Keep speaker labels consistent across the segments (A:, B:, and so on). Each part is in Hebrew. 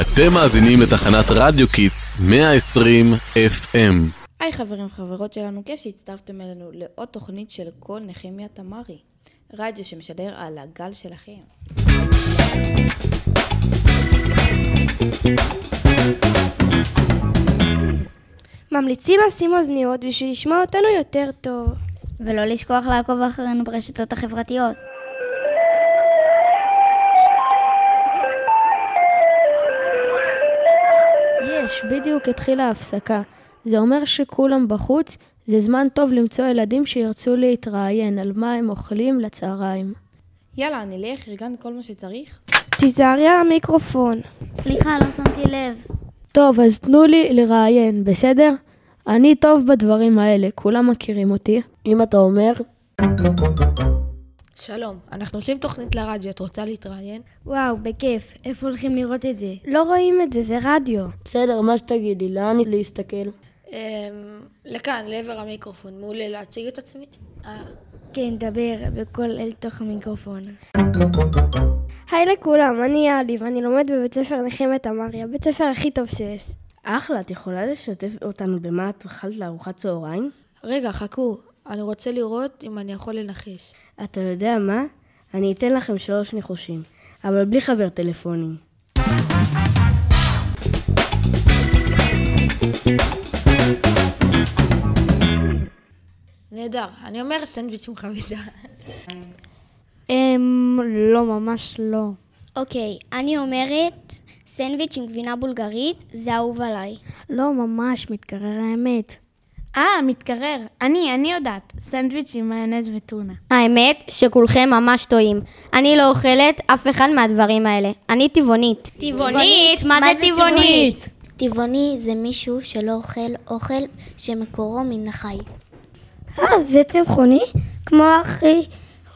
A: אתם מאזינים לתחנת רדיו קיטס 120 FM.
B: היי חברים וחברות שלנו, כיף שהצטרפתם אלינו לעוד תוכנית של קול נחמיה תמרי, רדיו שמשדר על הגל שלכם.
C: ממליצים לשים אוזניות בשביל לשמוע אותנו יותר טוב.
D: ולא לשכוח לעקוב אחרינו ברשתות החברתיות.
E: יש, בדיוק התחילה ההפסקה. זה אומר שכולם בחוץ, זה זמן טוב למצוא ילדים שירצו להתראיין על מה הם אוכלים לצהריים.
B: יאללה, נלך, ארגנת כל מה שצריך?
C: תיזהרי על המיקרופון.
D: סליחה, לא שמתי לב.
E: טוב, אז תנו לי לראיין, בסדר? אני טוב בדברים האלה, כולם מכירים אותי.
F: אם אתה אומר,
G: שלום, אנחנו עושים תוכנית לרדיו, את רוצה להתראיין?
H: וואו, בכיף. איפה הולכים לראות את זה?
I: לא רואים את זה, זה רדיו.
F: בסדר, מה שתגידי, לאן להסתכל?
G: אמ... לכאן, לעבר המיקרופון. מעולה להציג את עצמי? אה,
H: כן, דבר בקול אל תוך המיקרופון.
C: היי לכולם, אני יאלי ואני לומד בבית ספר נחמת אמרי, הבית ספר הכי טוב שיש.
I: אחלה, את יכולה לשתף אותנו במה את אכלת לארוחת צהריים?
G: רגע, חכו, אני רוצה לראות אם אני יכול לנחש.
I: אתה יודע מה? אני אתן לכם שלוש ניחושים, אבל בלי חבר טלפונים.
G: נהדר, אני אומר סנדוויץ' עם חביתה.
E: אמ... לא, ממש לא.
D: אוקיי, אני אומרת, סנדוויץ' עם גבינה בולגרית, זה אהוב עליי.
E: לא, ממש, מתקרר האמת.
J: אה, מתקרר. אני, אני יודעת. סנדוויץ' עם מיונז וטונה.
K: האמת שכולכם ממש טועים. אני לא אוכלת אף אחד מהדברים האלה. אני טבעונית.
D: טבעונית? מה זה טבעונית?
L: טבעוני זה מישהו שלא אוכל אוכל שמקורו מן החי.
C: אה, זה צמחוני? כמו אחי,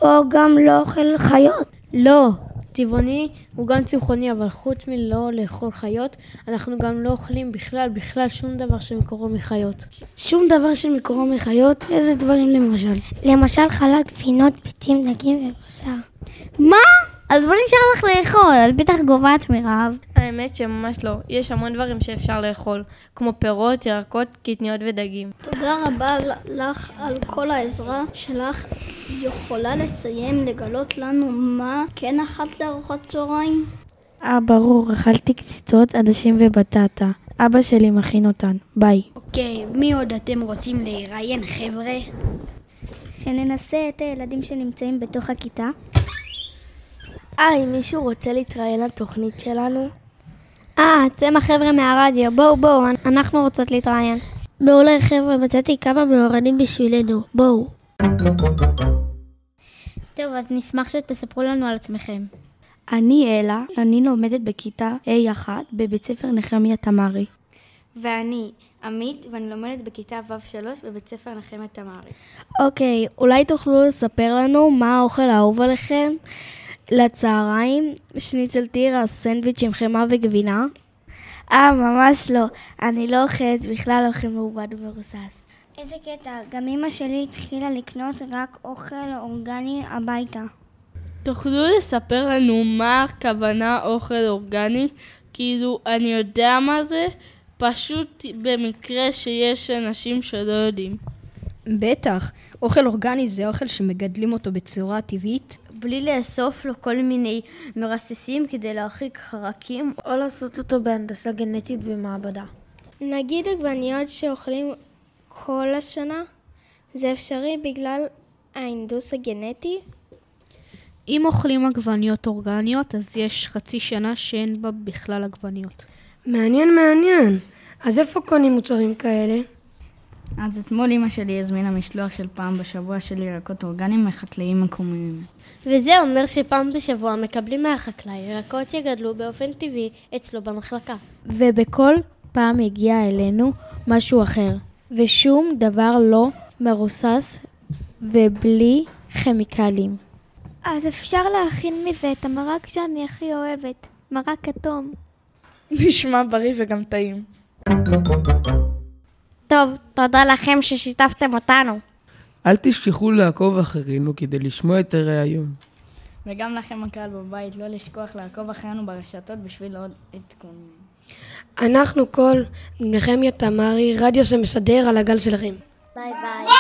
C: או גם לא אוכל חיות.
E: לא, טבעוני הוא גם צמחוני, אבל חוץ מלא לאכול חיות, אנחנו גם לא אוכלים בכלל, בכלל שום דבר שמקורו מחיות.
I: שום דבר שמקורו מחיות, איזה דברים למשל.
L: למשל חלל, גבינות, ביצים, דגים ובשר.
D: מה? אז בוא נשאר לך לאכול, את בטח גוועת מרעב.
M: האמת שממש לא. יש המון דברים שאפשר לאכול, כמו פירות, ירקות, קטניות ודגים.
N: תודה רבה לך על כל העזרה שלך. יכולה לסיים לגלות לנו מה כן אכלת לארוחת צהריים?
I: אה, ברור, אכלתי קציצות, עדשים ובטטה. אבא שלי מכין אותן. ביי.
L: אוקיי, מי עוד אתם רוצים לראיין, חבר'ה?
N: שננסה את הילדים שנמצאים בתוך הכיתה.
C: אה, אם מישהו רוצה להתראיין לתוכנית שלנו?
K: אה, אתם החבר'ה מהרדיו, בואו בואו, אנחנו רוצות להתראיין.
L: מעולה חבר'ה, מצאתי כמה מאורנים בשבילנו, בואו.
J: טוב, אז נשמח שתספרו לנו על עצמכם.
I: אני אלה, אני לומדת בכיתה A1 בבית ספר נחמיה תמרי.
N: ואני עמית, ואני לומדת בכיתה ו'3 בבית ספר נחמת תמרי.
C: אוקיי, אולי תוכלו לספר לנו מה האוכל האהוב עליכם לצהריים? שניצל תירס, סנדוויץ' עם חמאה וגבינה?
I: אה, ממש לא. אני לא אוכלת בכלל אוכל מעובד ומרוסס.
N: איזה קטע, גם אמא שלי התחילה לקנות רק אוכל אורגני הביתה.
M: תוכלו לספר לנו מה הכוונה אוכל אורגני? כאילו, אני יודע מה זה, פשוט במקרה שיש אנשים שלא יודעים.
O: בטח, אוכל אורגני זה אוכל שמגדלים אותו בצורה טבעית.
P: בלי לאסוף לו כל מיני מרססים כדי להרחיק חרקים, או לעשות אותו בהנדסה גנטית במעבדה.
C: נגיד עגבניות שאוכלים כל השנה? זה אפשרי בגלל ההינדוס הגנטי?
Q: אם אוכלים עגבניות אורגניות, אז יש חצי שנה שאין בה בכלל עגבניות.
F: מעניין, מעניין. אז איפה קונים מוצרים כאלה?
R: אז אתמול אמא שלי הזמינה משלוח של פעם בשבוע של ירקות אורגניים מחקלאים מקומיים.
K: וזה אומר שפעם בשבוע מקבלים מהחקלאי ירקות שגדלו באופן טבעי אצלו במחלקה.
E: ובכל פעם הגיע אלינו משהו אחר, ושום דבר לא מרוסס ובלי כימיקלים.
S: אז אפשר להכין מזה את המרק שאני הכי אוהבת, מרק כתום.
T: נשמע בריא וגם טעים.
K: טוב, תודה לכם ששיתפתם אותנו.
E: אל תשכחו לעקוב אחרינו כדי לשמוע את הראיון.
I: וגם לכם הקהל בבית, לא לשכוח לעקוב אחרינו ברשתות בשביל עוד עדכונים.
Q: אנחנו כל נחמיה תמרי, רדיו שמסדר על הגל שלכם.
D: ביי ביי.